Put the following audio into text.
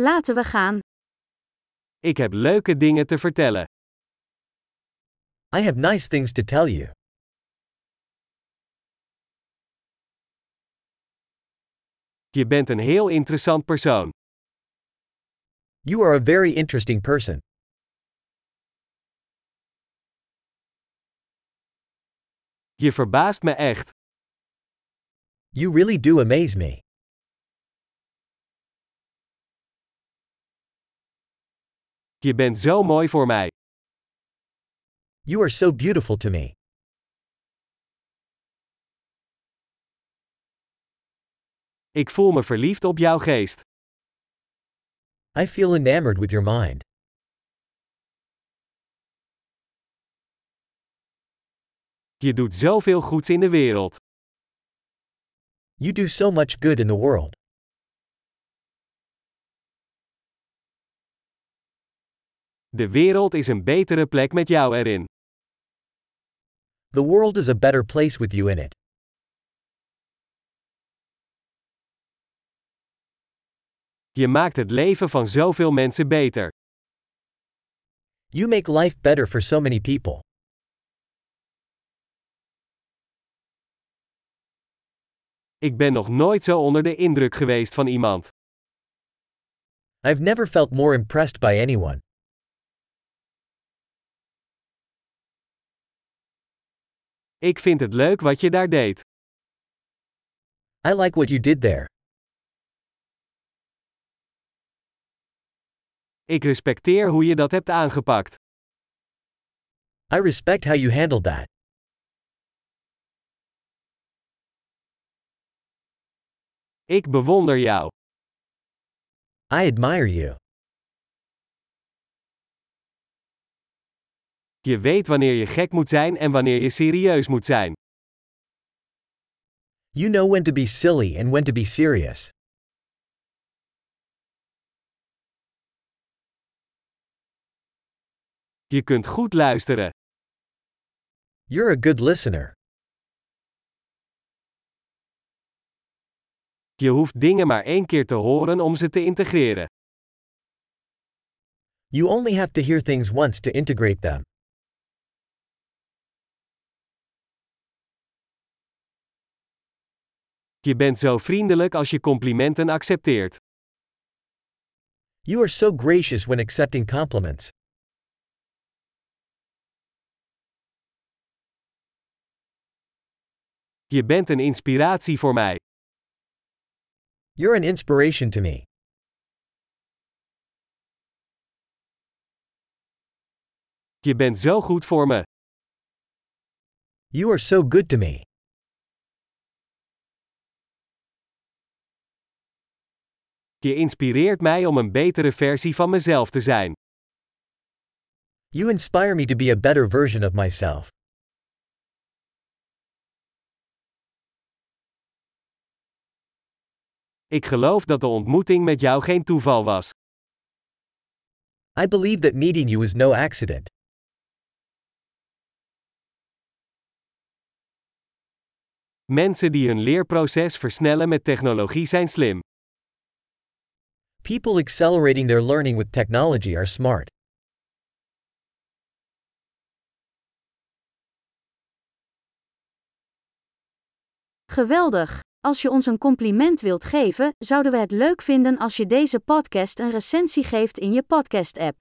Laten we gaan. Ik heb leuke dingen te vertellen. I have nice things to tell you. Je bent een heel interessant persoon. You are a very interesting person. Je verbaast me echt. You really do amaze me. Je bent zo mooi voor mij. You are so beautiful to me. Ik voel me verliefd op jouw geest. I feel enamored with your mind. Je doet zoveel goeds in de wereld. You do so much good in the world. De wereld is een betere plek met jou erin. The world is a better place with you in it. Je maakt het leven van zoveel mensen beter. You make life better for so many people. Ik ben nog nooit zo onder de indruk geweest van iemand. I've never felt more impressed by anyone. Ik vind het leuk wat je daar deed. I like what you did there. Ik respecteer hoe je dat hebt aangepakt. I respect how you handled that. Ik bewonder jou. I admire you. Je weet wanneer je gek moet zijn en wanneer je serieus moet zijn. You know when to be silly and when to be serious. Je kunt goed luisteren. You're a good listener. Je hoeft dingen maar één keer te horen om ze te integreren. You only have to hear things once to integrate them. Je bent zo vriendelijk als je complimenten accepteert. You are so gracious when accepting compliments. Je bent een inspiratie voor mij. You're an inspiration to me. Je bent zo goed voor me. You are so good to me. Je inspireert mij om een betere versie van mezelf te zijn. You inspire me to be a better version of myself. Ik geloof dat de ontmoeting met jou geen toeval was. I believe that meeting you is no accident. Mensen die hun leerproces versnellen met technologie zijn slim. People accelerating their learning with technology are smart. Geweldig! Als je ons een compliment wilt geven, zouden we het leuk vinden als je deze podcast een recensie geeft in je podcast-app.